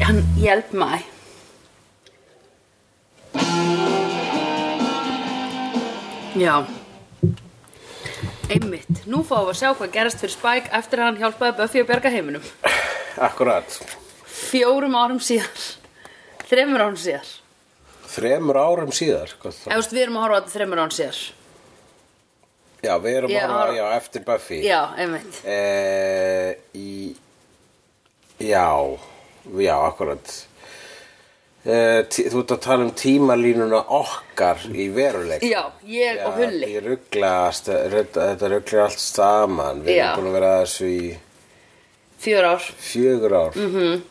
Han, hjälp mig. Já. Einmitt. Nú fáum við að sjá hvað gerist fyrir Spike eftir að hann hjálpaði Buffy að bjarga heiminum. Akkurat. Fjórum árum síðar. Þremur árum síðar. Þremur árum síðar. sko, Hvað Ef það? þú veist, við erum að horfa á þetta þremur árum síðar. Já, við erum Ég bara á- já, eftir Buffy. Já, einmitt. Eh, í, já, já, akkurat. Eh, tí, þú ert að tala um tímalínuna okkar í veruleik. Já, ég og Hulli. Ég rugglast, þetta rugglar allt saman. Við Já. erum búin að vera að þessu í Fjör ár. fjögur ár. Mm -hmm. Mhm.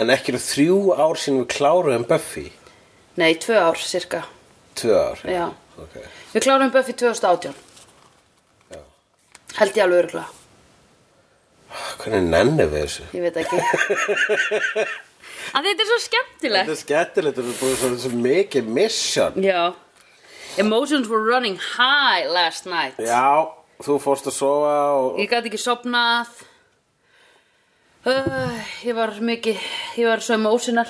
En ekki eru þrjú ár sín við kláruðum Buffy. Nei, tvö ár, cirka. Tvö ár. Já. Ok, Við klárum Buffy 2018. já. Held ég alveg örgulega. Hvernig nennum við þessu? Ég veit ekki. að þetta er svo skemmtilegt. Þetta er skemmtilegt, þetta er búin svo, svo mikið mission. Já. Emotions were running high last night. Já, þú fórst að sofa og... Ég gæti ekki sopnað. Uh, ég var mikið, ég var svo emotional.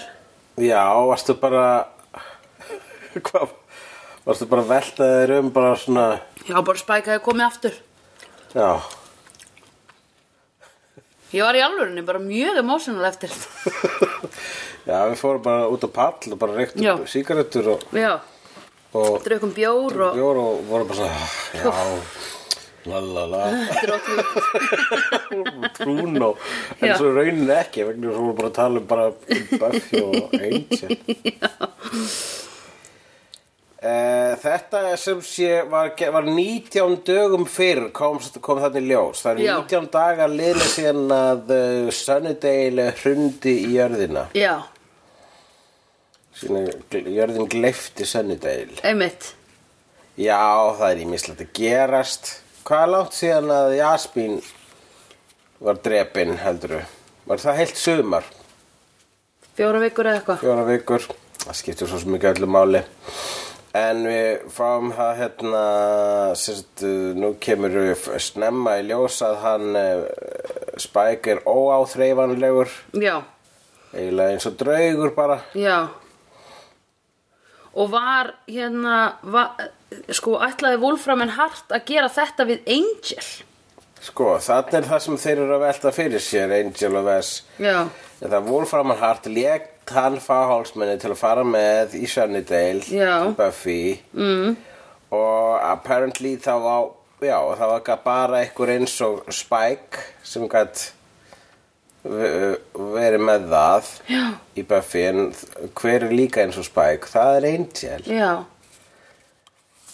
Já, varstu bara... Hvað? Varstu bara að velta þér um bara svona... Já, bara Spike hafði komið aftur. Já, Ég var í alvörinni bara mjög emotional eftir þetta. já við fórum bara út á pall og bara Já. reyktum sígarettur og, Já, og draukum bjór og bjór og vorum bara svona... Já, la la la, drókum. trún og... En Já. svo raunin ekki, vegna þess að vorum bara að tala um bara um Buffy og Angel. Eh, þetta sem sé var, var 19 dögum fyrr kom, kom þannig ljós það er Já. 19 dagar liðlega síðan að uh, sönnudegilega hrundi í jörðina Já, síðan gl- jörðin gleifti sönnudegil einmitt. já það er ímislegt að gerast hvað er langt síðan að Jaspín var drepin heldur var það heilt sumar Fjóra vikur eða eitthvað. fjóra vikur það skiptir svo sem ekki öllu máli en við fáum það hérna sérst, uh, nú kemur við f- snemma í ljós að hann uh, Spike er óáþreifanlegur Já, eiginlega eins og draugur bara já. Og var hérna, va, sko, ætlaði Wolfram en Hart að gera þetta við Angel? sko þannig er það sem þeir eru að velta fyrir sér Angel og Vess Já, en það Wolfram and Hart lékt hann fáhálsmenni til að fara með í Sunnydale Já. til Buffy mm. og apparently þá var já, þá var ekki bara einhver eins og Spike sem gætt verið með það já. í Buffy en hver er líka eins og Spike það er Angel já,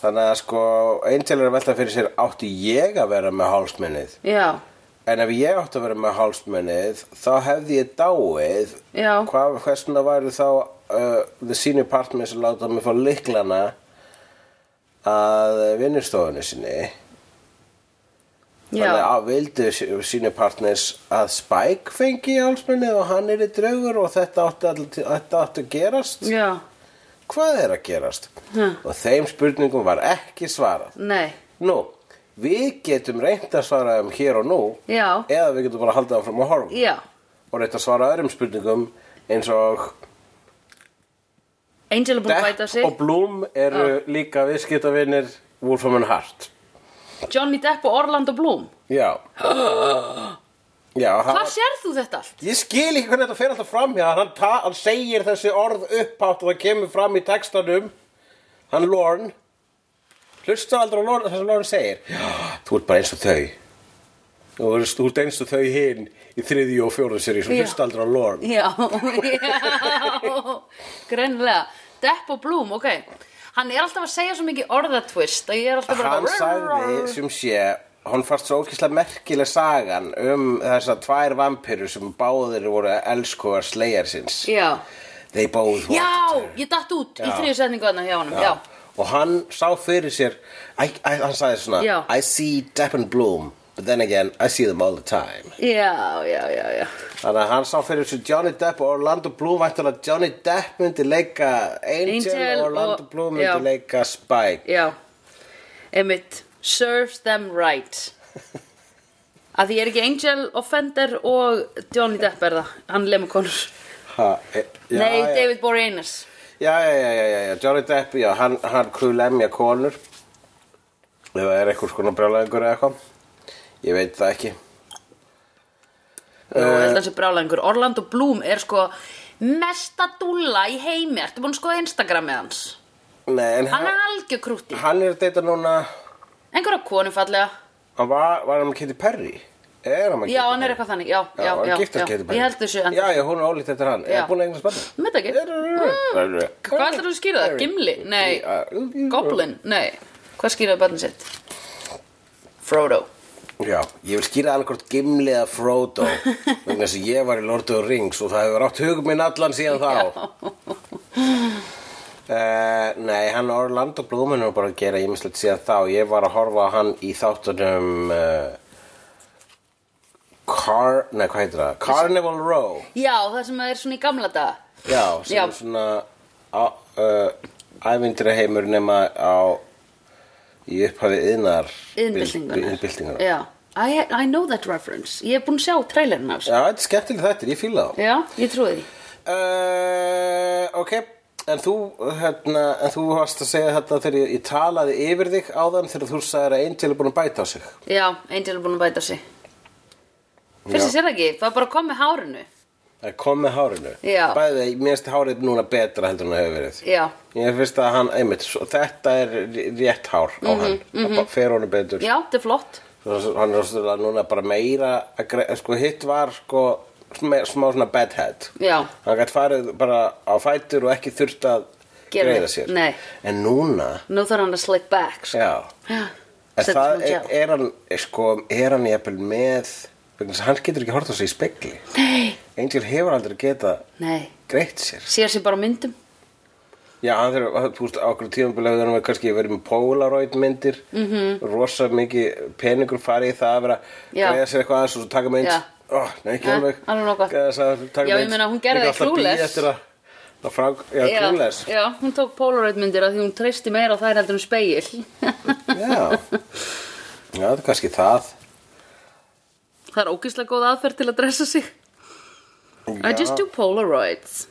þannig að sko Angel er að velta fyrir sér átti ég að vera með hálsmennið já, En ef ég átti að vera með hálsmennið, þá hefði ég dáið. Já. Hvað, hversna væri þá uh, the senior partner sem láta mig fá lyklana að vinnustofunni sinni? Þannig já, að vildu senior partners að Spike fengi hálsmennið og hann er í draugur og þetta átti, all, þetta átti að gerast? já, Hvað er að gerast? Hmm. Og þeim spurningum var ekki svarað. nei, Nú, við getum reynt að svara um hér og nú já, eða við getum bara haldið áfram að horfa. já. og reynt að svara öðrum spurningum eins og Angel er búin að bæta sig. Ah. og Bloom eru líka viðskiptavinir Wolfram and Hart Johnny Depp og Orlando Bloom. Já Já, hann, Hvar sér þú þetta allt? ég skil ekki hvernig þetta fer alltaf fram hjá hann, ta, hann segir þessi orð upphátt og það kemur fram í textanum hann Lorne hlusta aldrei á Lorne, það sem Lorne segir Já, þú ert bara eins og þau Þú ert- þú ert eins og þau hinn í þriðju og fjóruðu seri svo Já. hlusta aldrei á Lorne Já, já, greinlega. Depp og Bloom, ok. Hann er alltaf að segja svo mikið orðatvist að ég er alltaf bara... hann sagði sem sé hann fannst svo ókíslega merkileg sagan um þessar tvær vampirur sem báðir voru elskoðar slegjarsins Já, they both want já, ég datt út í Já. þriðu setningu þarna hjá honum, já. og hann sá fyrir sér I, I, hann sagði svona Já. I see Depp and Bloom but then again I see them all the time Já, já, já, já. þannig að hann sá fyrir sér Johnny Depp og Orlando Bloom væntanlega Johnny Depp myndi leika Angel, Angel og Orlando og- Bloom já. myndi leika Spike Já, emitt, serves them right. að því er ekki Angel Offender og Johnny Depp er það hann lemukonur Ha, e, já, nei, já. David Boreanaz Já, já, já, já, já, já, Johnny Depp, já, hann, hann krúlemja konur Ef það er einhvers konar brjálæðingur eða eitthvað Ég veit það ekki Jú, ég held að það sé brjálæðingur. Orlando Bloom er sko mesta dúlla í heimi. Ertu búin að skoða Instagramið hans? Nei, en Hann er algjör krúti. hann er að deyta núna Einhverja konu fallega. Hann var, var hann með Katy Perry? Er hann með Já, hann Katy er Perry? eitthvað þannig. Já, já, Já, hann já. giftist Katy Perry Ég held þessu. En... Já, já, hún er ólíkt eftir hann Já. Er búin að eignast barn? Mm. Með það ekki. Hvað ætlar þú að skýra það? Gimli? Nei. Goblin? Nei. Hvað skýraði barnið sitt? Frodo. Já, ég vil skýra alveg hvort Gimli eða Frodo vegna þess að ég var í Lord of the Rings og það hefur átt hugum minn allan síðan þá uh, Nei, hann Orlando Bloom er nú bara að gera ímislegt síðan þá ég var að horfa á hann í þáttunum uh, Car... Nei, hvað heitir það? Carnival Row Já, það sem er svona í gamla daga. Já, sem Já. er svona á- uh, ævindri heimur nema á í upphafi yðnar Iðnbyltingunar. Innbyltingunar Já, Já. I, I know that reference. Ég er búin að sjá trailerinn hans. þetta er skemmtileg þetta, ég fíla þá Já, ég trúi því. uh, Ok, en þú hérna, en þú varst að segja þetta þegar ég, ég talaði yfir þig áðan þegar þú sagðir að Angel er búin að bæta á sig Já, Angel er búin að bæta sig Fyrst Já. ég sér það ekki, það er bara að koma með hárinu að kom með hárinu Já. Bæði, mér finnst hárið núna betra heldur en það hefur verið Já, Ég finnst að hann, einmitt, svo, þetta er rétt hár á hann mm -hmm. Fer honum betur Mhm, já, þetta er flott Svo- hann er svona núna bara meira að gre- sko hitt var sko sm- smá svona bedhead Já, hann gætt farið bara á fætur og ekki þurft að Gera greiða neitt. sér Nei. en núna nú þarf hann að slick back sko. já, Já, en setja það smá er, gel. er hann er, sko, er hann jafnvel með vegna þess að hann getur ekki hort á sig í spegli Nei, Angel hefur aldrei geta nei, greitt sér sér sér bara á myndum já, hann þurfa, hann- þú veist, á okkur tíðanbúlega þannig að kannski verið með Polaroid myndir mm -hmm. rosa mikið peningur farið í það að vera Mhm. Já. greiða sér eitthvað aðeins og svo taka mynd Já. Ó, nei, ekki Nei, alveg alveg nóg gott. Gæðis að taka Já, ég mynd. meina, hún gerði Líka það í alltaf bíða Clueless. eftir að- að frá- Já, já, klúles já, hún tók Polaroid myndir að því hún treysti meira á þær heldur um speil Já, já það er kannski það Það er ógeðslega góð aðferð til að dressa sig I Já. just do Polaroids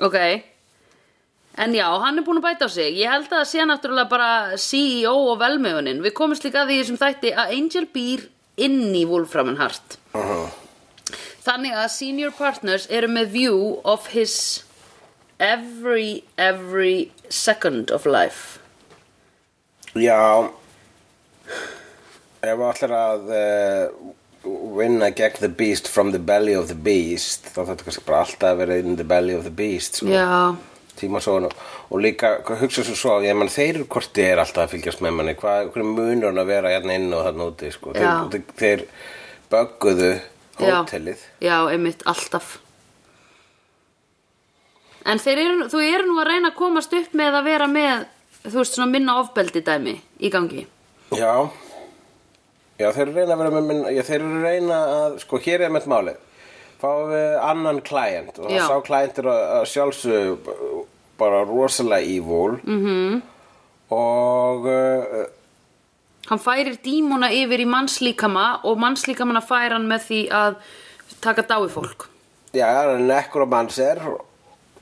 Ok En já, hann er búin að bæta á sig Ég held að það sé náttúrulega bara CEO og velmegunin Við komumst líka að því í þessum þætti að Angel býr inn í Wolfram and Heart Mhm. Þannig að senior partners eru með view of his every, every second of life Já Ef maður ætlar að uh, vinna gegn the beast from the belly of the beast þá þetta kannski bara alltaf að vera in the belly of the beast sko. Já, tímasóðan og, og líka hvað hugsa svo svo, ég menn þeir eru hvort þið er alltaf að fylgjast með manni, hvað hverju munur hann að vera hérna inn og þarna úti sko. Já. þeir, þeir bögguðu hótelið Já, já einmitt alltaf En þeir eru, þú eru nú að reyna að komast upp með að vera með þú veist svona minna ofbeldi dæmi í gangi já. já, þeir eru reyna að vera með minn, já, þeir eru reyna að sko, hér er með málið fáum við annan klæjent og Já. það sá klæjent er að, að sjálfsög bara rosalega evil mm -hmm. Mhm. og uh, Hann færir dímona yfir í mannslíkama og mannslíkamana fær hann með því að taka dái fólk já, hann er nekromancer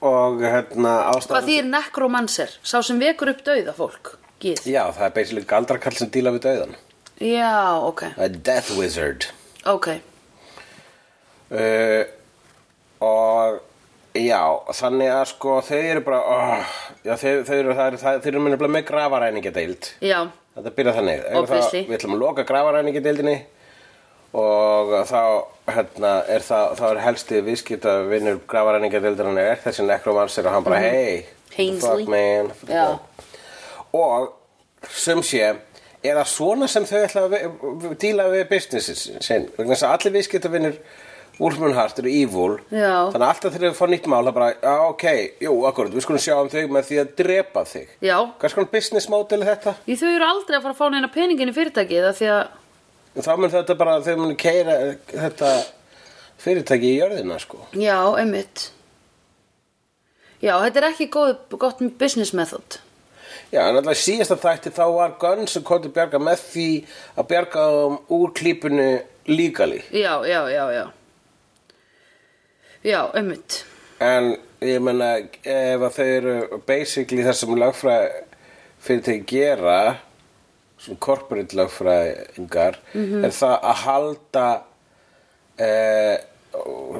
og hérna ástæðan Hvað því er nekromanser, sá sem vekur upp dauða fólk Gíð Já, það er basically galdrakall sem díla við dauðan. Já, ok, Það er Death Wizard. ok Uh, og já, þannig að sko þau eru bara, oh, já þau, þau eru, það eru, það, þau eru minni með grafaræningadeild. Já, Þetta byrja þannig. Eigum Obviously. Þá, við ætlum að loka grafaræningadeildinni og þá, hérna, er það, þá er helsti viðskipta vinnur grafaræningadeildinni er þessi nekromancer og hann bara, hey, Ainsley. fuck man. Mhm. Já. Og sem sé, er það svona sem þau ætla að vi- vi- díla við businesses sinn. Vegna þess að allir viðskipta vinnur Úlfmunhart eru evil. Já. Þannig að alltaf þegar þau fá nýtt mál, það bara, já, ok, jú, akkurat, við skulum sjá um þau með því að drepa þig. já Hvers konar business model er þetta? Því þau eru aldrei að fara að fá neina peningin í fyrirtækið af því að þá mun þetta bara, þau mun keira eh, þetta fyrirtæki í jörðina sko. Já, einmitt. Já, þetta er ekki góð, gott business method. Já, en alltaf síðasta þætti þá var Gunn sem kom til bjarga með því að bjarga um úr klípunu líkali. Já, já, já, já Já, ömmit En ég menna, ef að þau eru basically það sem lögfræ fyrir til að gera, svona corporate lögfræðingar, er það að halda eh,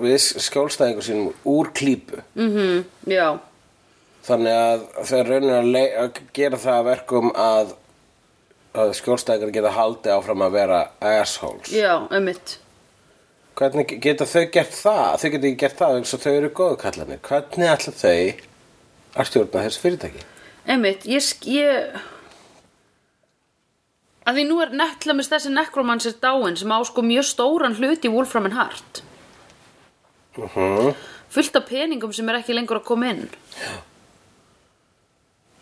við skjólstæðingur sínum úr klípu. mm Já, Þannig að þau raunir að, lei- að gera það að verkum að, að skjólstæðingar geta haldið áfram að vera assholes. já, ömmit Hvernig geta þau gert það? Þau geta ekki gert það eins og þau eru góðu kallanir. Hvernig ætla þau að stjórna þessu fyrirtæki? Ömmit, ég sk- ég að því nú er nettlamist þessi nekromansir dáin sem á sko mjög stóran hlut í Wolfram and Heart Uh -huh. fullt af peningum sem er ekki lengur að koma inn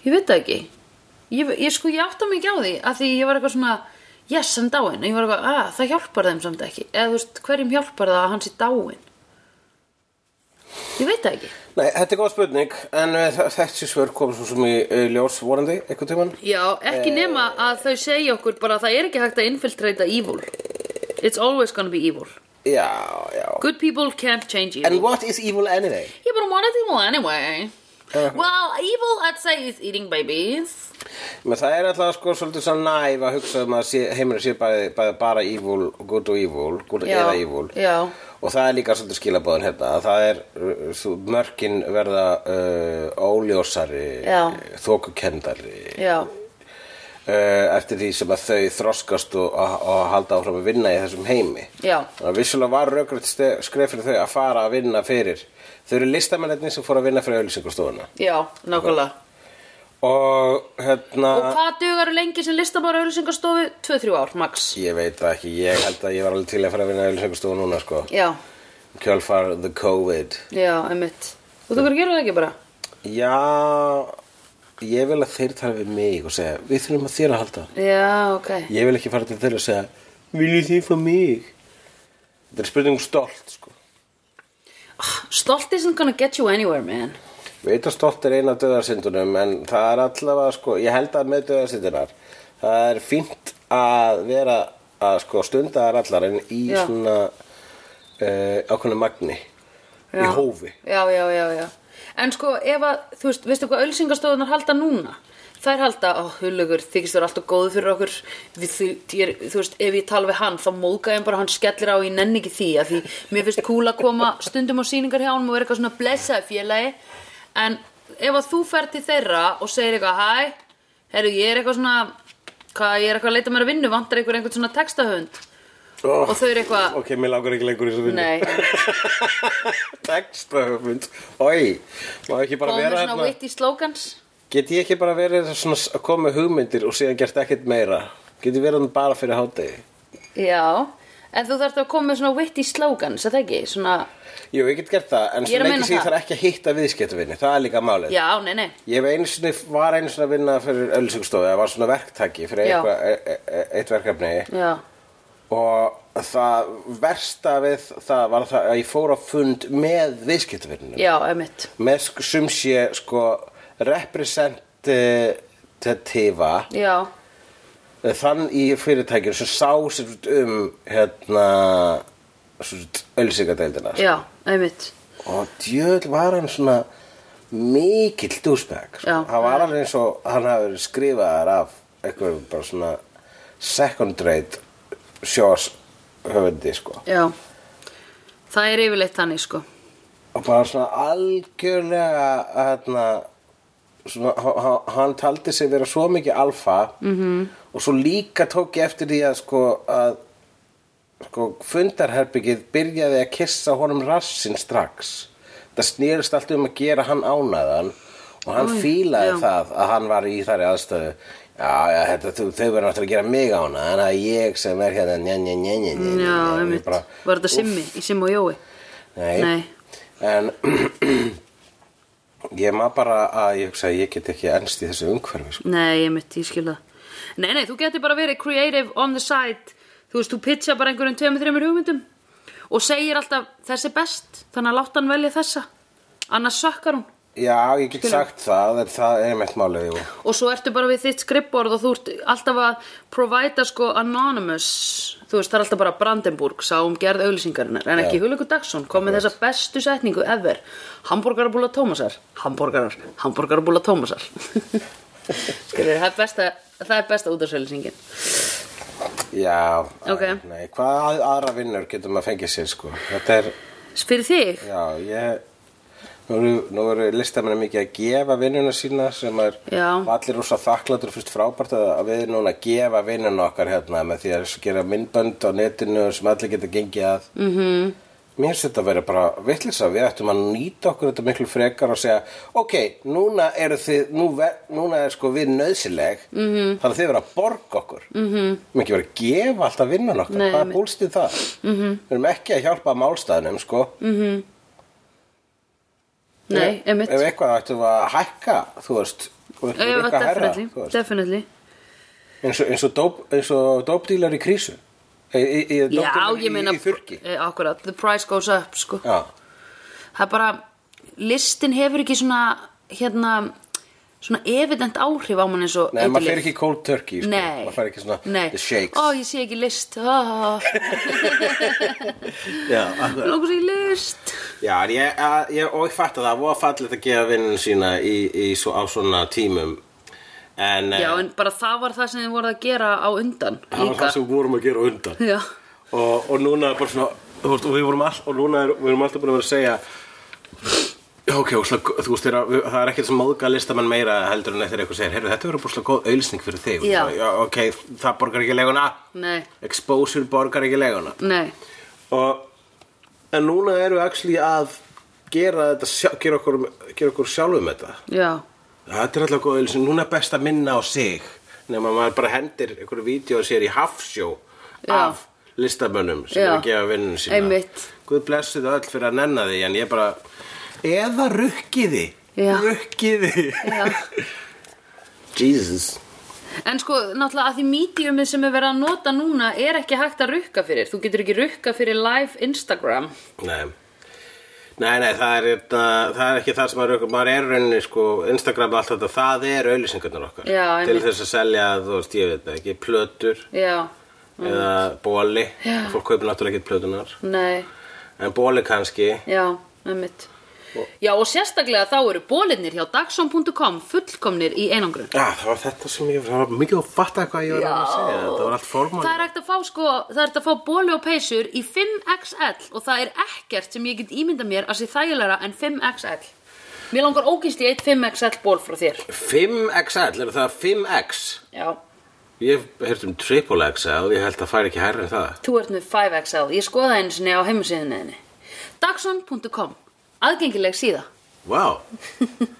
ég veit það ekki ég, ég sko, ég átta mig ekki á því að því ég var eitthvað svona yes, hann dáin, og ég var eitthvað, að það hjálpar þeim samt ekki eða þú veist, hverjum hjálpar það að hann sé dáin ég veit það ekki Nei, þetta er góð spurning, en eh, þa- þessi svör kom svo sem í eh, ljós vorandi, eitthvað tímann. já, ekki nema að þau segja okkur bara að það er ekki hægt að infiltrata evil it's always gonna be evil Já, já. good people can't change evil And what is evil anyway? ég bara wanna evil anyway Uh-huh. well, evil I'd say is eating babies Men það er alltaf sko svolítið svo næf að hugsa um að sé, heimurinn sé bæði, bæði bara evil, good og evil, good Já, eða evil. já. Og það er líka svolítið skilabóðan hérna, að það er, uh, þú- mörkin verða uh, óljósari, Já. þókukendari, já, uh, eftir því sem að þau þroskast og, og, og halda áfram að vinna í þessum heimi. já Það vissulega var rökrætt ste- skref fyrir þau að fara að vinna fyrir. Þau eru listamennetni sem fóru að vinna fyrir auðlýsingustofuna. Já, nákvæmlega. Og hérna, Og hvað dugar lengi sem listamara auðlýsingarstofu? 2-3 ár, max. ég veit það ekki, ég held að ég var alveg til að fara að vinna í auðlýsingustofu núna sko. Já, Kjálfar the COVID. já, einmitt. Og þú verður að gera það ekki bara? Já, ég vil að þeir tala við mig og segja, við þurfum að þér að halda. Já, ok. Ég vil ekki fara til þeir að segja, viljið þið fá mig? Þetta er spurning um stolt sko. Stolt isn't gonna get you anywhere, man. Veit að stótt er eina döðarsyndunum en það er allavega sko, ég held að með döðarsyndunar það er fínt að vera að sko stunda þær allar en í Já. svona uh, ákveðna magni í Já. hófi Já, já, já, já. En sko, ef að, þú veist, veistu hvað auðlýsingarstofunar halda núna? Þær halda, ó, hulugur, þykist þú alltaf góðu fyrir okkur, við, þú, ég, þú veist, ef ég tala við hann, þá móðga ég hann bara, hann skellir á, ég nenni ekki því, af því mér finnst kúla að koma stundum á sýningar hjá hann og vera eitthvað svona blessaði félagi, en ef að þú fer til þeirra og segir eitthvað, hæ, herru, ég er eitthvað svona, hvað, ég er eitthvað að leita mér að vinnu, vantar einhver einhvern svona textahönd, oh, og þau eru eitthvað, Ok, mér langar ekki lengur í þessu vinnu nei, Textahöfund Ói, má ekki bara komið vera svona hérna witty slogans. Get ég ekki bara verið svona að koma með hugmyndir og síðan gert ekkert meira Get ég verið hann bara fyrir hátegi Já, en þú þarft að koma með svona witty slogans, er það ekki? Svona, Jú, ég get gert það, en Ég er svo að lengi meina sem ég það. þarf ekki að hitta viðskiptavinni, það er líka málið. já, nei, nei, Ég hef einu sinni, var einu sinni að vinna fyrir ölsingustofu, það var svona verktaki fyrir Já. eitthva, e, e, eitt verkefni já, og það versta við það var það að ég fór á fund með viðskiptavinnum, já, emitt, með sk- sum sé sko representativa já, þann í fyrirtækinu sem sá sér um hérna ölsingadeildina. já, emitt, og djöðl var hann svona mikill dúsbæk Já. sko. hann var alveg eins og hann hafi verið skrifaðar af eitthvað bara svona second rate sjós höfundi sko já. Það er yfirleitt þannig, sko. og bara svona algjörlega hérna svona, hann- hann- hann taldi sig vera svo mikið alfa Mhm. -hmm. og svo líka tók ég eftir því að sko að sko fundarherbyggið byrjaði að kissa honum rassin strax það snýrist allt um að gera hann ánæðan og hann Oj, fílaði já. það að hann var í þarri aðstöðu já, já, þetta, þau, þau verður náttúrulega að gera mig ánæðan en að ég sem er hérna njá, njá, njá, njá, njá, Já, njá, njá, emitt. bara, Var þetta Simmi, í Simmi og Jói? Nei. Nei. En ég maður bara að ég hugsa að ég get ekki ennst í þessu umhverfi. Sko. Nei, emitt, ég skil það. Nei, nei, þú getur bara verið creative on the side, þú veist, þú pitcha bara einhverjum tveimur, þreimur hugmyndum og segir alltaf, þessi er best, þannig að láta hann velja þessa, annars sökkar hún. Já, ég get Skilur. sagt það, en það er meitt málið, jú. og svo ertu bara við þitt skrippborð og þú ert alltaf að provæta sko anonymous þú veist það er alltaf bara Brandenburg sá um gerð auglýsingarinnar en ekki Hulugur Dagsson kom með þessa bestu setningu ever hambúrgarabúla Tómasar hambúrgarar, hambúrgarabúla Tómasar skilur það er besta það er besta útarsauglýsingin Já, Ok. æ, nei, hvað að, aðra vinnur getur maður fengið sér, sko? Þetta er, fyrir þig já, ég... Nú eru, nú eru listamenni mikið að gefa vinnuna sína sem er Já. og allir rosa þakklættur og fyrst frábært að að við núna gefa vinnuna okkar hérna með því að gera myndbönd á netinu sem allir geta gengið að mm Mhm. -hmm. Mér finnst þetta að vera bara vittlisa við ættum að nýta okkur þetta miklu frekar og segja ok, núna eru þið nú ver, núna er sko við nöðsileg mm -hmm. Mhm. þannig að þið vera að borga okkur mm -hmm. við erum ekki verið að gefa alltaf vinnan okkar Nei, Mhm. hvað er einmitt. búlstið það? Mm -hmm. við erum ekki að hjálpa málstæðnum sko nei, emitt Ef eitthvað ættum við að hækka, þú veist, og við erum eitthvað herra, definitely, þú veist, definitely. eins og, eins og, dóp, eins og dópdílar í krísu, í, í, í, já, dópdílar ég meina í, í þurki. eh, akkurat, the price goes up sko Já, það er bara listin hefur ekki svona hérna svona evident áhrif á mann eins og nei, maður eiturlyf. fer ekki í cold turkey, sko, Nei. maður fer ekki svona Nei. the shakes. Ó, ég sé ekki list Ó, já, akkurat. Nókur sé ekki list já en ég, að, ég, og ég fatt að það var fallið að gefa vinnun sína í, í, svo, á svona tímum, en, eh, Já, en bara það var það sem þið voruð að gera á undan það var líka. það sem við vorum að gera á undan. Já, og, og núna er bara svona þú veist, og við vorum, all, og núna er, við vorum alltaf búin að vera að segja já ok, og slag, þú veist, þeirra, við, það er ekkert sem móðga listamenn meira heldur en þegar eitthvað segir heyrðu, þetta verður bara svona góð auðlýsning fyrir þig Já. já, ok, það borgar ekki leguna nei, exposure borgar ekki leguna nei og en núna erum við actually að gera þetta, sjá- gera okkur, gera okkur sjálfum þetta Já, Þetta er alltaf góð auðlýsing, núna er best að minna á sig nema maður bara hendir einhverju vídeo sér í hafsjó Já. af listamönnum sem Já. er að gefa vinnunum sína Einmitt. Guð blessu þau öll fyrir að nenna því en ég bara, eða rukkiði Já. rukkiði já Jesus En sko, náttúrulega að því mediumið sem er verið að nota núna er ekki hægt að rukka fyrir. Þú getur ekki rukka fyrir live Instagram. Nei Nei, nei, það er, þetta, það er ekki það sem maður aukur, maður er í rauninni, sko, Instagram og allt þetta, það er auðlýsingarnar okkar. Já, Til einmitt. þess að selja, þú veist, ég veit það ekki, plötur Já, Mm. eða bóli, Já. fólk kaupir náttúrulega ekki plötunar. nei. En bóli kannski Já, einmitt. Já, og sérstaklega þá eru bólinnir hjá dagson.com fullkomnir í einangrun. Já, það var þetta sem ég það var mikið að fatta hvað ég var að segja Þetta var allt Það er formál hægt að fá sko, það er hægt að fá bóli og peysur í 5XL og það er ekkert sem ég get ímyndað mér að sé þægilega en 5XL. Mér langar ógist í eitt 5XL ból frá þér. 5XL, er það 5X? Já, Ég hef heyrt um triple XL, ég held að færi ekki hærri en það þú ert með 5XL. Ég skoða einu sinni á heimasíðinni. Dagson.com, aðgengileg síða. Vá,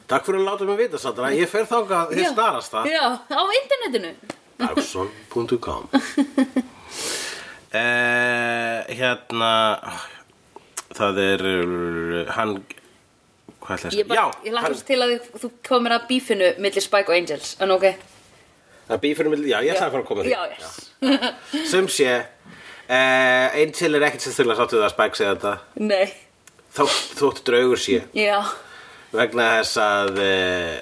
takk fyrir að láta mig vita, Sandra Ég fer þangað, Já. ég snarast það Já, á internetinu. Axon.com eh, Hérna Það er uh, Hann Hvað ætla Ég, bara, ég ég að segja? Já, hann lakast til að þú- þú komir að bífinu millir Spike og Angels, en ok. Það býr fyrir milli, já, ég ætla að fara að koma að því Já, yes. Sem sé eh, Angel er ekkert sérstaklega sáttu það að Spike segja þetta Nei, Þótt, þótt draugur sé já Vegna þess að eh,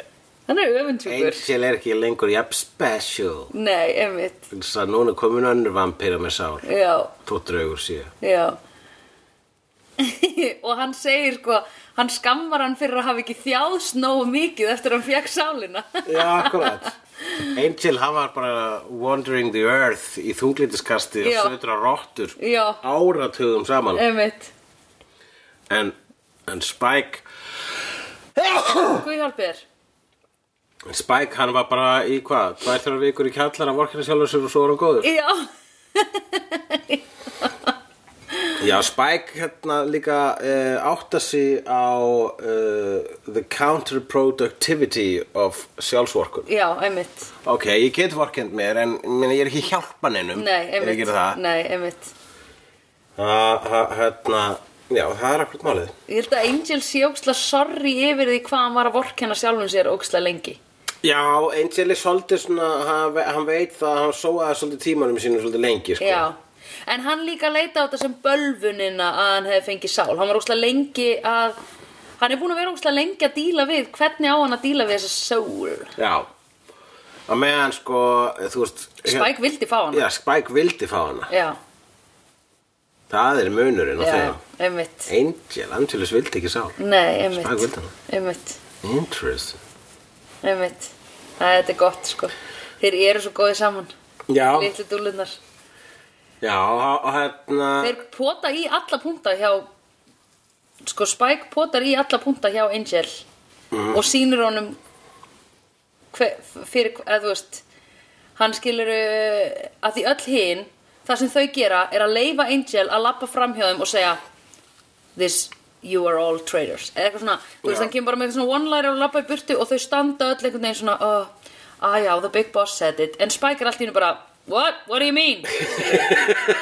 Hann er öfundsjúkur Angel er ekki lengur jafn special Nei, einmitt, Þess að núna er komin önnur vampíra með sál já, Þótt draugur sé já Og hann segir sko Hann skammar hann fyrir að hafa ekki þjáðs nógu mikið eftir að hann fekk sálina Já, akkurat Angel, hann var bara wandering the earth í þunglítiskasti Já. og södra rottur Já. Eh. áratugum saman Einmitt, en, en Spike hvað hjálpi þér? Spike, hann var bara í hvað? Tvær þrjár vikur í kjallar að vorkina sjálfur sér og svo var hann góður Já, Já, Spike hérna líka uh, átta sig á uh, the counterproductivity of sjálfsvorkun. já, einmitt Ok, ég get vorkend mér en minna, ég er ekki að hjálpa neinum. Nei, Ef Ég einmitt, gerir það. nei, einmitt Ha- ha- Hérna, já, það er akkurat málið. Ég held að Angel sé óksla sorry yfir því hvað hann var að vorkenna sjálfum sér óksla lengi Já, Angel er svolítið svona, hann, ve- hann veit það, hann sóaði svolítið tímanum sínum svolítið lengi, sko. Já, en hann líka leita á þetta sem bölvunina að hann hefði fengið sál. Hann var óslega lengi að Hann er búin að vera ógustlega lengi að díla við hvernig á hann að díla við þessa soul Já Á meðan sko, þú veist Spike vildi fá hann Já, Spike vildi fá hana já, Það er munurinn á já þeim einmitt Angel, Angelus vildi ekki sá Nei, Spike einmitt vildi hana Einmitt, Interesting einmitt Það er þetta er gott sko Þeir eru svo góði saman Já, Litlu dúlunar já, og hérna Þeir pota í alla punta hjá Sko Spike potar í alla punta hjá Angel Mhm. Og sýnir honum hver, Fyrir, eða þú veist Hann skilur eh, að því öll hin Það sem þau gera er að leifa Angel að labba fram hjá þeim og segja This, you are all traitors Eða eitthvað svona, þú veist, Já. hann kemur bara með eitthvað svona one-liner og labba í burtu og þau standa öll einhvern veginn svona uh, Ah já, the big boss said it En Spike er allt í hennu bara What? What do you mean?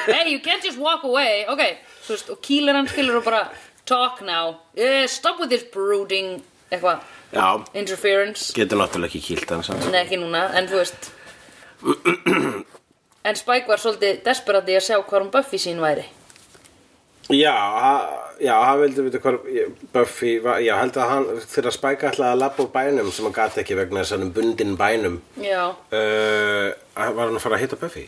hey, you can't just walk away ok, þú veist, og kýlar hann skilur og bara talk now, Eh, stop with this brooding eitthvað, Já, interference getur náttúrulega ekki kýlt hann sann nei ekki núna, en þú veist en Spike var svolítið desperat í að sjá hvað hún Buffy sín væri Já, ha- já, hann vildi vita hvað Buffy, var- já, held að hann þegar Spike ætlaði að labba úr bænum sem hann gati ekki vegna þess að hann er bundinn bænum já, uh, var hann að fara að hitta Buffy?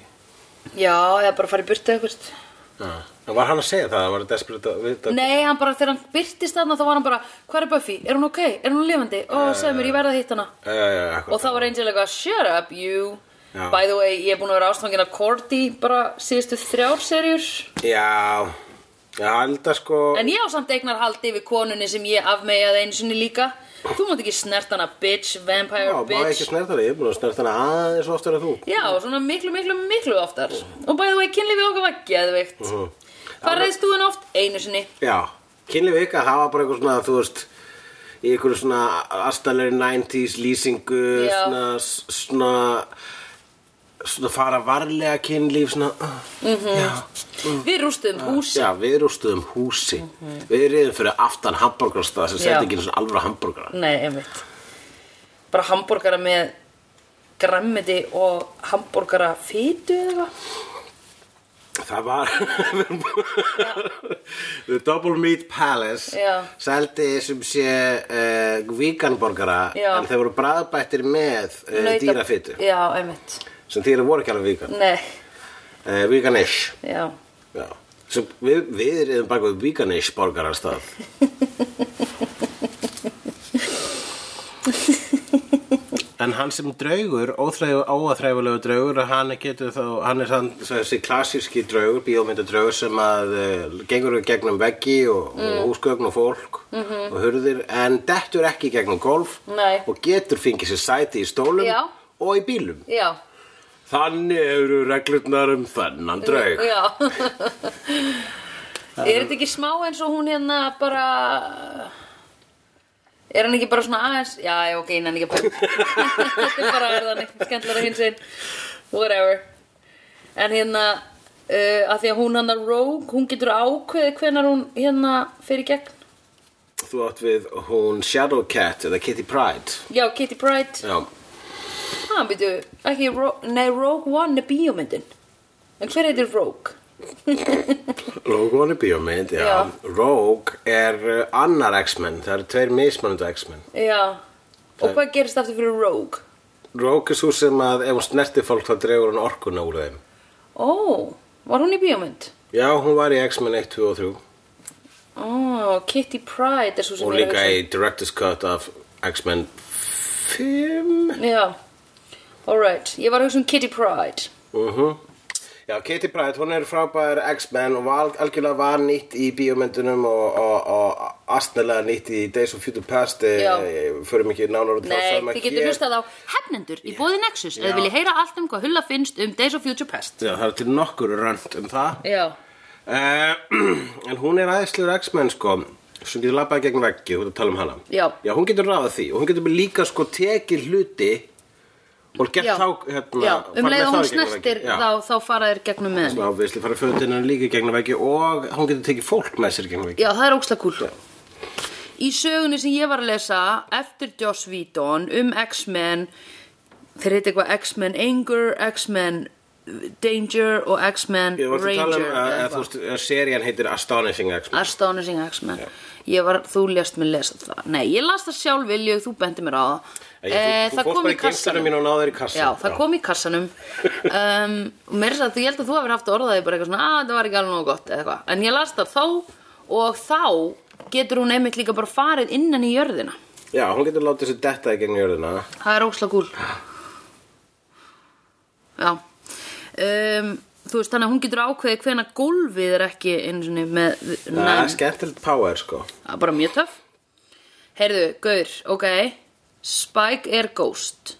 já, eða bara fara í burtu eitthvað Já, en var hann að segja það, hann var desperate að vita nei, hann bara, þegar hann byrtist þarna þá var hann bara, hvað er Buffy, er hún ok, er hún lifandi ó, segðu mér, ég verða að hitta hana Já, já, Eh, já, akkurat. og þá var Angel eitthvað shut up you Já. by the way, ég er búin að vera ástfangin af Cordy bara síðustu þrjár serjur Já, já, held að sko en ég á samt eignar haldi yfir konunni sem ég afmeiaði einu sinni líka þú mátt ekki snert hana bitch, vampire Já, má ég ekki bitch snerta það, ég er búin að snerta hana aðeins oftar en þú já, svona miklu, miklu, miklu oftar og by the way, kynlífi okkar var geðveikt Mhm. hvað reyðst þú henni oft? einu sinni Já, kynlíf ykkar, það var bara eitthvað svona, þú veist í einhverju svona astalegri 90s lýsingu, Já. svona, svona svona fara varlega kynlíf, svona mm Mhm. Ah. -hmm. já, við rústum húsi já, við rústuðum húsi við reyðum fyrir aftan hambúrgarstað sem Mhm. Já. setja ekki einu svona alvöru hambúrgara nei, einmitt bara hambúrgara með grammiti og hambúrgara fytu eða eitthvað Það var The Double Meat Palace Já. seldi sem sé uh, veganborgara Já. en þeir voru bræðbættir með uh, Nauta- dýrafitu já, einmitt sem dýra voru ekki alveg vegan Nei, uh, veganish já, Já. Sem, við, við erum bara við veganish borgarar stað En hann sem draugur, óaþræfulegu draugur, hann getur þá, hann er hann, þessi klassíski draugur, bíómyndadraugur sem að uh, gengur við gegnum veggi og, Mm. og húsgögn og fólk og hurðir, en dettur ekki í gegnum golf Mhm. Nei. og getur fengið sér sæti í stólum Já. og í bílum. já Þannig eru reglurnar um þennan draug. Já Er þetta ekki smá eins og hún hérna bara Er hann ekki bara svona aðeins Já, já, ok, hann ekki bara Þetta er bara er þannig, skemmtilega hins einn Whatever En hérna, uh, að því að hún hann Rogue, hún getur ákveðið hvenær hún hérna fer í gegn Þú átt við hún Shadowcat eða Kitty Pryde. Já, Kitty Pryde Já. Ha, býtu, ekki Rogue Nei, Rogue One er bíómyndin En hver heitir Rogue? Rogue One er bíómynd, já. Já. Rogue er uh, annar X-Men, það eru tveir mismunandi X-Men. Já Og hvað gerist aftur fyrir Rogue? Rogue er svo sem að ef hún snertir fólk þá dregur hún orkuna úr þeim. Ó, var hún í bíómynd? Já, hún var í X-Men 1, 2 og 3 Ó, Kitty Pryde er svo sem og ég er að líka hugsa í Director's Cut af X-Men 5. um. Já, alright, ég var að hugsa um Kitty Pryde Uh Já, Kitty Pryde, hún er frábær X-Men og var al- algjörlega var nýtt í bíómyndunum og, og, og astnilega nýtt í Days of Future Past Já. e, förum ekki nánar út í þá Nei, sama þið getur hér. hlustað á hefnendur í bóði Nexus eða Já. vilja heyra allt um hvað Hulla finnst um Days of Future Past Já, það er til nokkur rönt um það Já, uh, En hún er aðeinslegur X-Men sko sem getur labbað gegn veggi, þú ert að tala um hana Já. hún getur ráða því og hún getur líka sko tekið hluti og gett já, þá hérna, já. farið um með leið þá og hún í gegnum snertir vegginn. Já. þá, þá fara þér gegnum með henni Svo ávisli fara fötinn hennar líka í gegnum veggi og hún getur tekið fólk með sér í gegnum veggi. Já, það er óksla kúl Í sögunni sem ég var að lesa eftir Joss Whedon um X-Men þeir heiti eitthvað X-Men Anger, X-Men Danger og X-Men Ég var að tala um Ranger að, eða að, þú eitthvað. veist, að serían heitir Astonishing X-Men Astonishing X-Men Ég var, þú lést mér lesa það Nei, ég las það sjálf vilju, þú bendi mér á það Ég- þú- Eh, þú Það fórst kom bara í í geymsluna kassanum mína og náðir í sko. kassann. Já, það Já. kom í kassanum um, og Mér er það, ég held að þú hefur haft orðaði bara eitthvað svona, að það var ekki alveg nógu gott eða eitthvað En ég las það þá og þá getur hún einmitt líka bara farið innan í jörðina Já, hún getur látið sér detta í gegn jörðina Það er óksla gúl Já um, Þú veist þannig að hún getur ákveðið hvena gólfið er ekki einu sinni með Það er næm, skemmtilegt power sko það er bara mjög töff Heyrðu, Gaur, ok Spike er ghost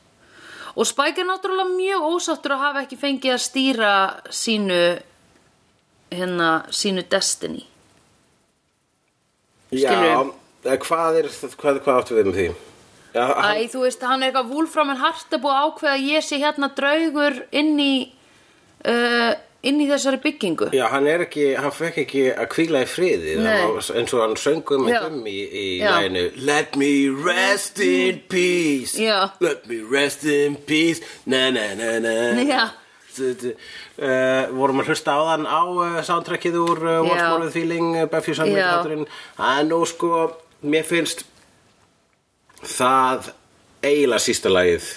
Og Spike er náttúrulega mjög ósáttur að hafa ekki fengið að stýra sínu hérna, sínu destiny Skilurðu? Já, eh, hvað er, hvað, hvað áttu við með því? Já, hann, Æ, þú veist, hann er eitthvað Wolfram en Hart er búið að ákveða að ég sé hérna draugur inn í uh, inn í þessari byggingu já, hann er ekki, hann fekk ekki að kvíla í friði Það Nei. var eins og hann söngum Já. með um í, í Já. Mm. læginu Let me rest in peace Já. Let me rest in peace Na na na na Já. Uh, vorum að hlusta á þann á uh, soundtrackið úr uh, Once Já. More With Feeling uh, Buffy Já. Sandvindráturinn en nú sko, mér finnst það eiginlega sísta lagið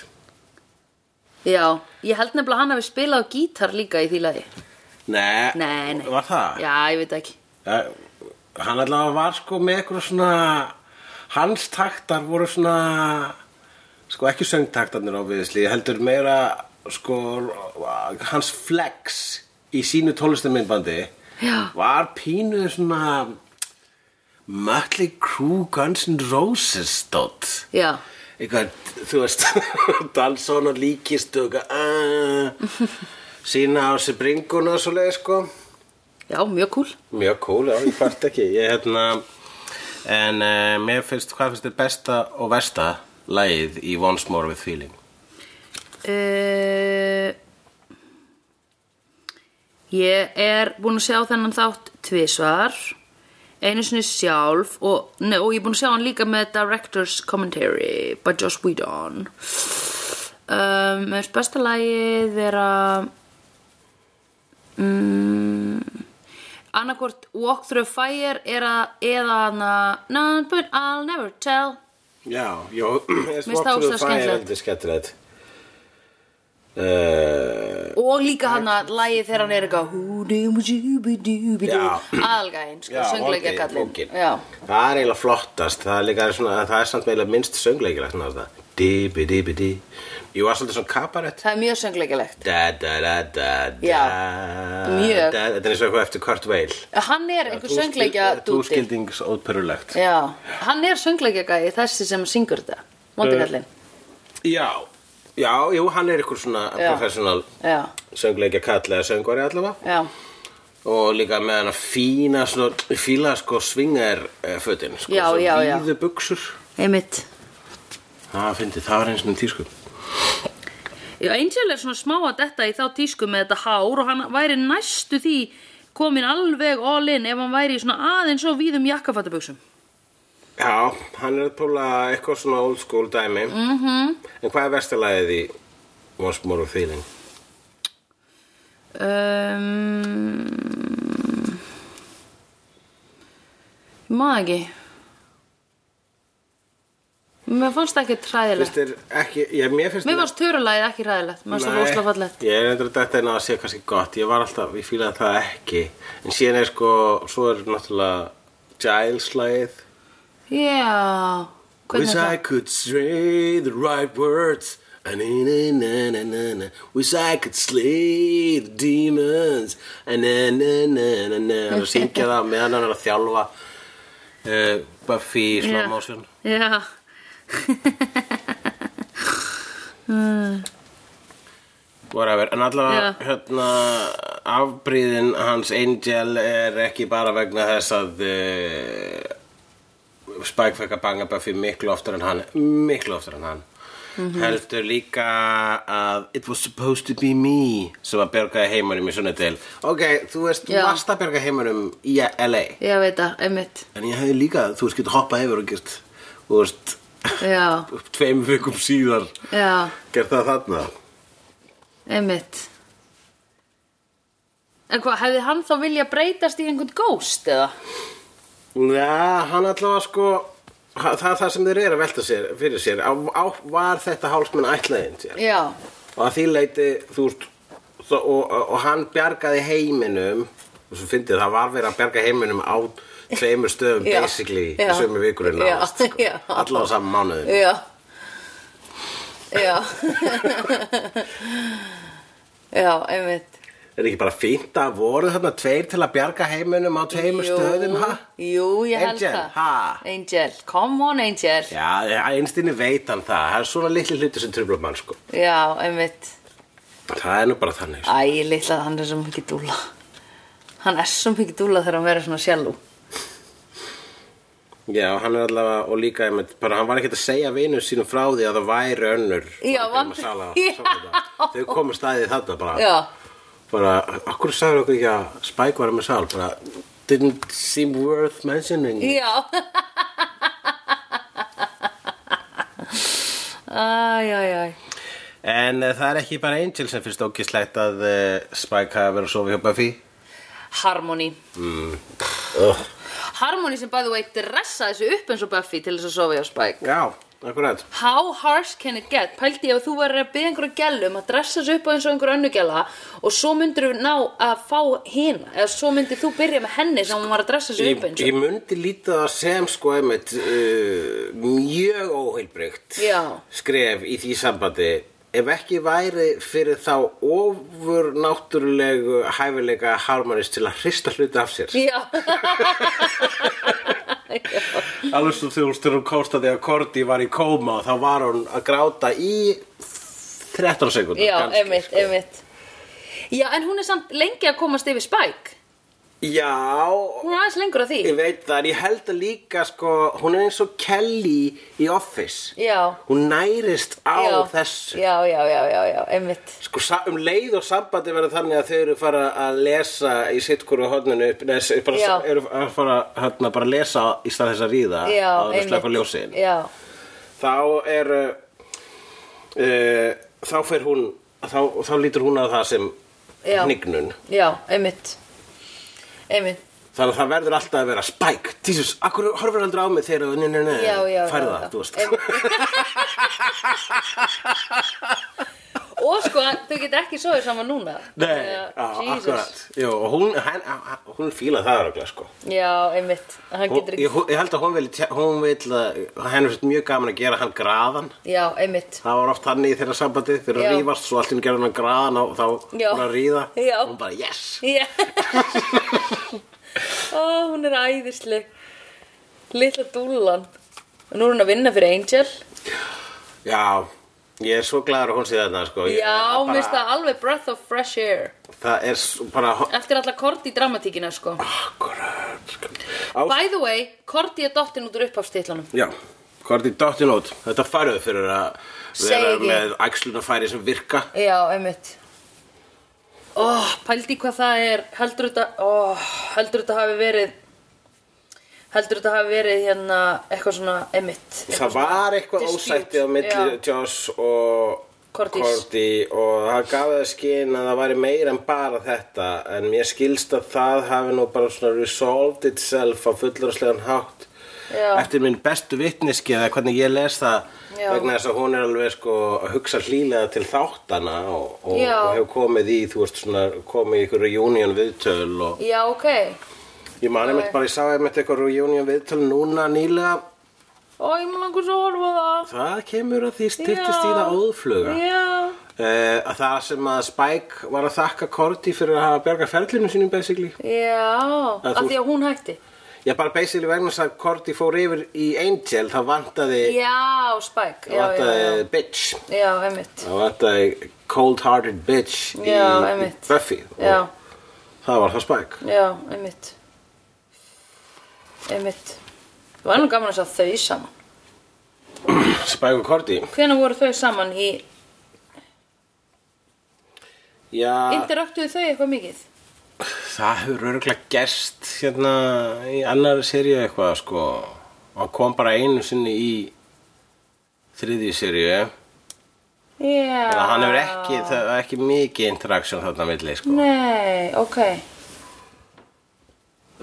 Já, ég held nefnilega að hann hafi spilað á gítar líka í því lagi Nei, Nei, nei var það? Já, ég veit ekki Eh, hann allavega var sko með eitthvað svona hans taktar voru svona sko ekki söngtaktarnir óviðisli heldur meira sko hans flex í sínu tónlistaminbandi Já. var pínu svona Mötli Crew Guns N' Roses stótt Já, eitthvað, þú veist Dalsson og líkist og eitthvað uh, sína á sér bringuna og svo sko já, mjög cool Mjög cool, já, ég kvart ekki Ég hérna En uh, mér finnst, hvað finnst þér besta og versta lagið í Once More With Feeling? uh, Ég er búin að sjá þennan þátt tvisvar einu sinni sjálf og, nei, og ég er búin að sjá hann líka með Director's Commentary by Joss Whedon um, Mér finnst besta lagið vera mm, annarkvort Walk Through Fire er að eða hana None but I'll never tell Já, já, ég Mér finnst það ógeðslega skemmtilegt. Þetta er skemmtilegt uh, og líka hann að lagið þegar hann er eitthvað hú dum djúbi djúbi dú Já. algæn, sko, Já, söngleikja kallinn bókin. já, Það er eiginlega flottast Það er, líka, svona, það er samt eiginlega minnst söngleikilegt náttúrulega. Dibi, dibi, di Jú, það er svolítið svona kabarett það er mjög söngleikjalegt Da, da, da, da, da Já, mjög. da, Þetta er eins og eitthvað eftir Kurt Weill hann er einhver söngleikja dúti Túskildings já, hann er söngleikja gæði þessi sem syngur þetta, mótikallinn Já, já, jú, hann er ykkur svona Já. professional já, söngleikja kall eða söngvari allavega já, og líka með hann að fína svona, fíla sko svingar fötin sko, Já, svona já, já. víðu buxur einmitt það fyndi, það var eins og tísku já, Angel er svona smá að detta í þá tísku með þetta hár og hann væri næstu því komin alveg all in ef hann væri í svona aðeins og víðum jakkafattabuxum Já, hann er að tóla eitthvað svona old school dæmi mm -hmm. Mhm. en hvað er vestalagið í Once More of Feeling? Um, ég maður ekki Mér fannst það ekki Finnst hræðilegt þér ekki, já, mér finnst Mér fannst törulagið ekki hræðilegt Mér fannst það Nei, rosalega fallegt Ég er endur að þetta en að það sé kannski gott Ég var alltaf, ég fílaði það ekki En síðan er sko, svo er náttúrulega Giles lagið Já Hvernig Wish er I það? could say the right words Ah, na, na, na, na, na, na. Wish I could slay the demons Ah, na, na, na, na, na. Og syngja það meðan hann er að þjálfa uh, Buffy í slow motion Já Whatever, en allavega Já. hérna, afbríðin hans Angel er ekki bara vegna þess að uh, Spike fekk að banga Buffy miklu oftar en hann miklu oftar en hann Mhm. heldur líka að it was supposed to be me sem að björgaði heimanum í Sunnydale ok, þú veist, þú Já. varst að björga heimanum í LA Ég veit það, einmitt en ég hefði líka, þú veist, getur hoppað yfir og gert, þú veist, Já, tveim vikum síðar já, gert það þarna einmitt En hvað, hefði hann þá vilja breytast í einhvern ghost eða? Já, hann allavega sko ha- það er það sem þeir eru að velta sér fyrir sér á, á, var þetta hálsmenn ætlaðin sér Já, og að því leiti þú veist þó- og, og, og hann bjargaði heiminum og svo fyndið það var verið að bjarga heiminum á tveimur stöðum Já, basically já. í sömu vikurinn Já, náðast sko. já. allavega saman mánuðin já Já Já, einmitt er ekki bara fínt að voru þarna tveir til að bjarga heiminum á tveimur stöðum ha? Jú, ég held Angel, það ha? Angel, come on Angel Já, Já, einstinni veit hann það það er svona litli hluti sem trublar mann sko einmitt það er nú bara þannig sko. Æ, litla, hann er svo mikið dúla Hann er svo mikið dúla þegar hann verður svona sjálf Já, hann er allavega, og líka einmitt, bara hann var ekkert að segja vinum sínum frá því að það væri önnur Já, Bara vand- um að sala- Já. sala þetta. Þau komu staðið þetta bara Já, Bara, akkur sagði okkur ekki að Spike var með sal Bara, didn't seem worth mentioning já Æ, æ, æ En uh, það er ekki bara Angel sem finnst ókislegt að uh, Spike hafi verið að sofa hjá Buffy Harmony uh. Harmony sem by the way dressa þessu upp eins og Buffy til þess að sofa hjá Spike Já, akkurat How harsh can it get? Pældi ég að þú verður að byggja einhverja gælum að dressa þessu upp á eins og einhverja önnu gæla og svo myndir þú ná að fá hina eða svo myndir þú byrja með henni sem hún var að dressa þessu Ég, upp eins ég og myndi líta það sem sko einmitt uh, mjög óheilbrygt Já. skref í því sambandi ef ekki væri fyrir þá ofur náttúrulegu hæfileika harmonist til að hrista hluti af sér Já alveg svo þegar hún styrum kóstaði að Korti var í kóma þá var hún að gráta í 13 sekundar Já, sko. einmitt, einmitt Já, en hún er samt lengi að komast yfir Spike Já, Hún er aðeins lengur að því Ég veit það, en ég held að líka sko, hún er eins og Kelly í Office. Já. Hún nærist á já, þessu. Já, já, já, já, já, einmitt Sko, sa- um leið og sambandi verður þannig að þau eru fara að lesa í sitt hverju hodninu, neða, bara, Já. eru að fara hérna, bara að lesa í stað þess að ríða Já, að það einmitt slökka ljósin. Já, Þá er, uh, þá fer hún, þá, þá lítur hún að það sem Já. hnignun. já, einmitt Einmitt Þannig að það verður alltaf að vera spæk. Jesus, akkur horfur aldrei á mig þegar þú, nei, nei, nei, Já, já, færða, já, já. þú veist. Einmitt. Og sko, þau geta ekki sofið saman núna Nei, Já, já, Jesus. akkurat Jú, og hún, hann, hann- hún fíla það röglega sko Já, einmitt, hann hún, getur ég, ekki hún- ég held að hún vil, tjá- hún vil að, henni finnst mjög gaman að gera hann graðan Já, einmitt Það var oft hann í þeirra sambandi þegar Já. að rífast svo allt hún gerði hann graðan og þá Já. hún að ríða Já. Hún bara yes Já Ó, hún er æðisleg Lilla dúlan Og nú er hún að vinna fyrir Angel Já, ég er svo glaður að hún sé þarna sko Ég- Já, mér finnst bara, það alveg breath of fresh air það er svo bara Eftir alla Korti í dramatíkina, sko Akkurat sko. Á, By the way, Korti er dottin út úr upphafstitlanum Já, hvað er því dottin út? Þetta færðu fyrir að vera Segi ekki. með æxlunafæri sem virka Já, einmitt Ó, pældi hvað það er Heldur þetta, ó, heldur þetta hafi verið Heldur þetta hafi verið hérna Eitthvað svona, einmitt Það var eitthvað Dispute, ósætti á milli já. Joss og Cortís. Cordy og það gaf það skinn að það væri meira en bara þetta en mér skilst að það hafi nú bara svona resolved itself á fulluraslegan hátt Já. eftir minn bestu vitniski eða hvernig ég les það Já. vegna þess að hún er alveg sko að hugsa hlýlega til þáttana og, og, og Já. hefur komið í, þú veist svona komið í ykkur reunion viðtöl og Já, ok ég man einmitt bara, ég sá einmitt eitthvað reunion viðtöl núna nýlega Ó, ég má langur svo að horfa á það Það kemur að því styrtist Já. í það óðfluga. Já Eh, að það sem að Spike var að þakka Korti fyrir að hafa bjarga ferlinu sínum basically. Já, Að af þú- því að hún hætti Já, bara basically vegna þess að Korti fór yfir í Angel, þá vantaði, Já, Spike Já, já, vantaði já, bitch. já einmitt Það vantaði cold-hearted bitch Já, í, í einmitt. Buffy. Og Já, Það var það Spike. já, einmitt Einmitt Það var nú gaman að sjá þau saman Spike og Korti. Hvenær voru þau saman í Já, Interaktuðu þau eitthvað mikið? það hefur örgulega gerst hérna í annari seríu eitthvað sko. Hann kom bara einu sinni í þriðju seríu. Já. Þannig að hann hefur ekki, það er ekki mikið interaction þarna á milli, sko. Nei, ok.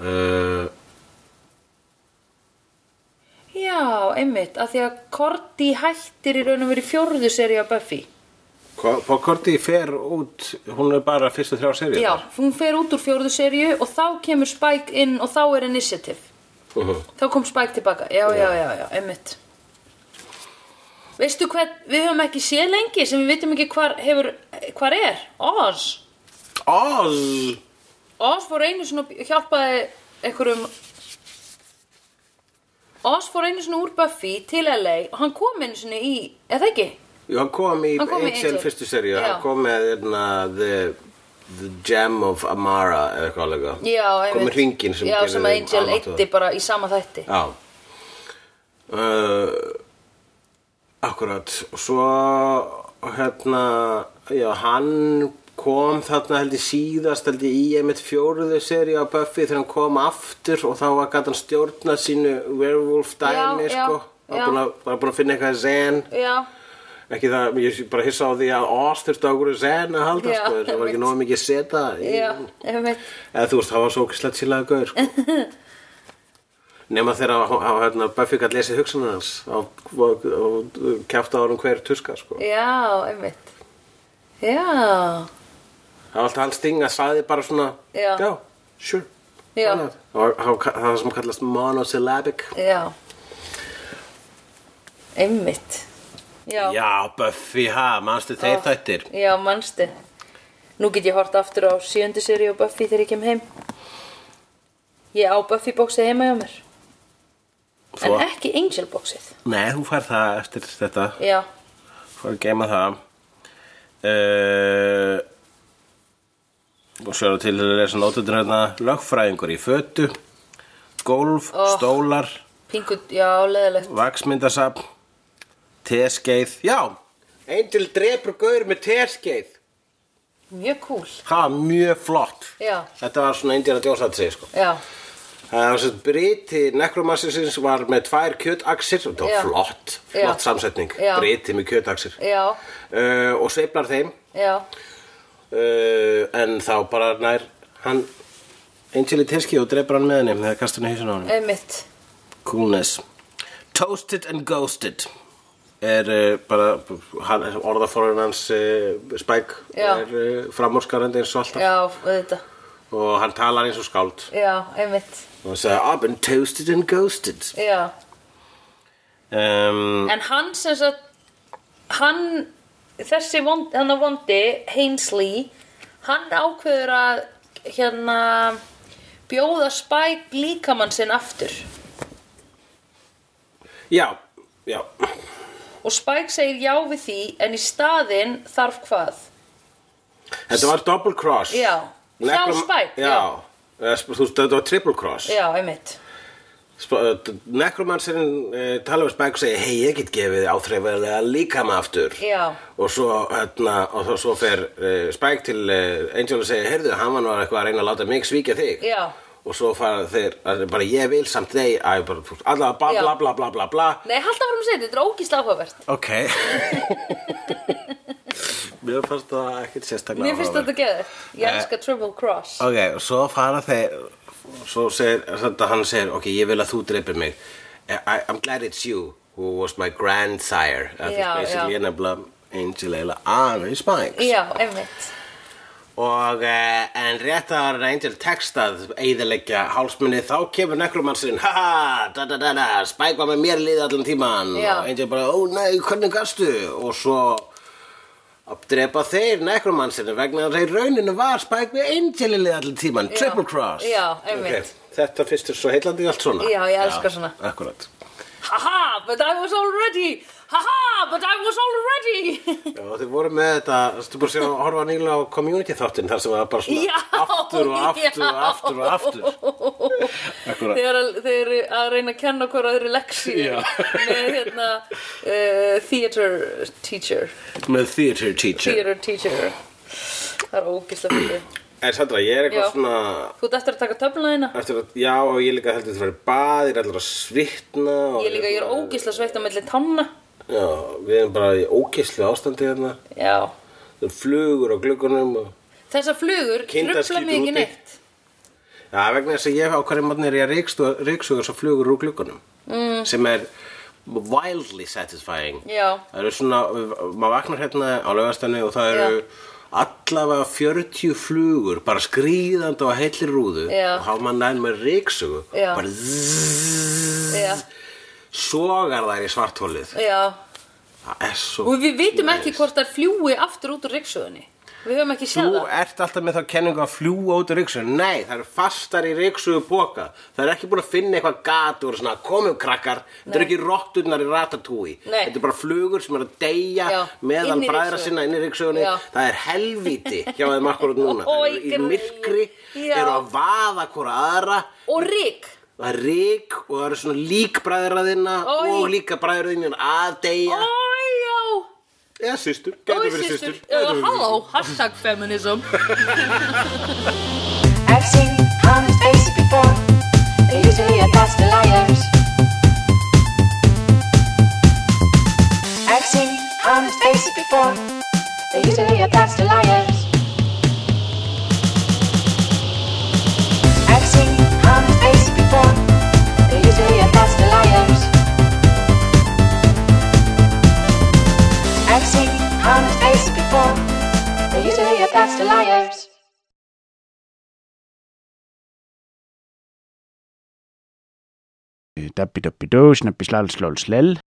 Uh, Já, einmitt, af því að Korti hættir í raun og verið fjórðu seri á Buffy. Korti fer út, hún er bara fyrstu þrjá serið. Já, hún fer út úr fjórðu seríu og þá kemur Spike inn og þá er Initiative. Þá kom Spike tilbaka. Já, já, já, já, einmitt. Veistu hvað, við höfum ekki séð lengi sem við vitum ekki hvar hefur, hvar er? Oz. Oz! Oz fór einu svona og hjálpaði einhverjum Oz fór einu svona úr Buffy til LA og hann kom einu svona í, eða ekki? Jú, hann kom í Hann kom í Angel Angel. fyrstu serið, Já. hann kom með hérna, the, the Gem of Amara eða eitthvað alveg. Já, einmitt. Kom með ringin sem Já, gerði sem að þeim Angel almáttuga. eitti bara í sama þætti. Já uh, Akkurat og Svo hérna Já, hann kom þarna held ég síðast held ég í einmitt fjóruðu seri á Buffy þegar hann kom aftur og þá var gætt hann stjórna sínu werewolf dæmi Já, já, sko já. var búin að, var búin að finna eitthvað zen Já, ekki það, ég sé bara hissa á því að Oz þurfti á okkur zen að halda Já, sko það var einmitt. ekki nóg mikið seta í- já, einmitt. eða þú veist, það var svo okkislega sílaði gaur sko. nema þegar á, á, hérna, Buffy gætt lesið hugsanar hans og, og, og kæfti á hann hver tuska sko. Já, einmitt. Já, það var alltaf hans sting að sagði bara svona Já. sure Já. why not?" og hann- það sem kallast monosyllabic já. Einmitt. Já, Ah. já, Buffy, ha, manstu þeir þættir já, manstu. Nú get ég hort aftur á sjöundu seri á Buffy þegar ég kem heim. Ég á Buffy bóksið heima hjá mér. Þú- En ekki Angel bóksið. nei, hún fær það eftir þetta Já, Fór að geima það uh, Og svo er til að lesa nótutur hérna Lögfræðingur í fötu Gólf, Oh. stólar pingu, já, leðilegt. Vaksmyndasap Teskeið Já, Angel drepur gaur með teskeið Mjög cool. Það var mjög flott Já. Þetta var svona Indiana Jones að segja sko Já, Það var sem Briti nekromassins var með tvær kjötaksir Þetta Já. var flott, Já. flott samsetning Já. Briti með kjötaksir já, uh, Og sveiflar þeim já, uh, en þá bara nær hann Angel í terski og drefur hann með henni þegar kastar hann í hausin á henni einmitt. coolness toasted and ghosted er uh, bara hann, orðaforun hans uh, Spike Já. er uh, framúrskarandi eins og alltaf Já, þetta. og hann talar eins og skáld Já, einmitt. og hann sagði I've been toasted and ghosted Já. um, En hann sem sagt hann, þessi vondi, hann að vondi Hainsley, hann ákveður að hérna bjóða Spike líkamann sinn aftur já, já og Spike segir já við því en í staðinn þarf hvað þetta var double cross Já. Necrom- Hjá Spike, já, já. Eða, sp- þú veist, þetta var triple cross Já, einmitt eh, Nekromancerinn uh, tala við Spike og segja hei, ég get gefið áþreifarlega líka maður aftur Já. og svo, hérna, og svo, svo fer uh, Spike til uh, Angel og segja heyrðu, hann var nú eitthvað að reyna að láta mig svíkja þig Já. og svo fara þeir að- bara ég vil samt þeir að bara, þú veist, allavega bla Já. bla bla bla bla bla Nei, halda varum að segja þetta, þetta er ógísla áhugavert ok mér fannst það ekkert sérstaklega Mér finnst áhugavert. þetta geður Ég elska Triple Cross Ok, og svo fara þeir Svo segir, þetta hann segir Ok, ég vil að þú dreipir mig Eh, I, I'm glad it's you who was my grandsire Þetta Já, er basically já. nefnilega Angel eiginlega aðeins Spikes Já, einmitt Og eh, en rétt að hann Angel textað Eðilegja hálsmunni Þá kemur nekrumannsinn Haha, da da da da Spike var með mér liði allan tíman Já. Og Angel bara, ó nei, hvernig gastu Og svo að drepa þeir nekrumannsinn Vegna þess að í rauninu var Spike með Angel í liði allan tíman Já. Triple cross Já, einmitt. Ok, Þetta fyrst er svo heillandi allt svona Já, ég elska svona. Akkurat Haha, but I was already Haha, but I was already Já, þeir voru með þetta, þú veist, þú búið að sjá að horfa nýlega á community þáttinn þar sem var bara svona Já, aftur og aftur og já. aftur og aftur. Akkurat. Þau eru að- þau eru að reyna að kenna okkur öðru leksi Já. með hérna uh, theater teacher Með theater teacher. theater teacher það er ógislega fyrir En Sandra, ég er eitthvað Já. svona þú ert eftir að taka töfluna þína eftir að, já, og ég líka heldur þetta verið bað, ég er allra að svitna og ég líka, ég er ógislega sveitt á milli tanna Já, við erum bara í ókyslu ástandi hérna. Já. Það eru flugur á gluggunum og... Þessar flugur Kindar trubla skýtur mig ekki úti. neitt. Já, vegna þess að ég á hverju mann er ég að reyksuga svo flugur úr gluggunum. Mm. Sem er wildly satisfying. Já. Það eru svona, maður vaknar hérna á laugastæni og það eru allavega 40 flugur bara skrýðandi á heilli rúðu Já. og hafa maður næðin með reyksugu Já. bara zzzz, Já. sogar þær í svartholið Já. það er svo Og við vitum nice. ekki hvort þær fljúi aftur út úr reyksugunni. Við höfum ekki séð Þú það. ert alltaf með þá kenningu að fljúa út í ryksugu. Nei, það eru fastar í ryksugu póka. Það eru ekki búin að finna eitthvað gat úr svona komum krakkar. Þetta eru ekki rotturnar í ratatúi. Nei. Þetta eru bara flugur sem eru að deyja Já, inn meðan í bræðra ryksugu. sinna inn í ryksugunni. Já. Það er helvíti hjá þeim akkurat núna. Það eru Oj, í greyið. myrkri, Já. eru að vaða hvora aðra. Og rík. Það er ryk og það eru svona lík bræðraðina Oj. og líka bræðraðina að deyja. Ój, já. Eða systur, Ó, getur verið systur. Já, Gætu verið systur. halló, hashtag feminism. I've seen honest faces before. They're usually a pass to liars. I've seen honest faces before. They're usually a pass to liars. I've seen honest faces before. They're usually a pass to liars. I've seen honest faces before. They're usually a pass to liars. Dabbi dabbi dó, snabbi slal slól slell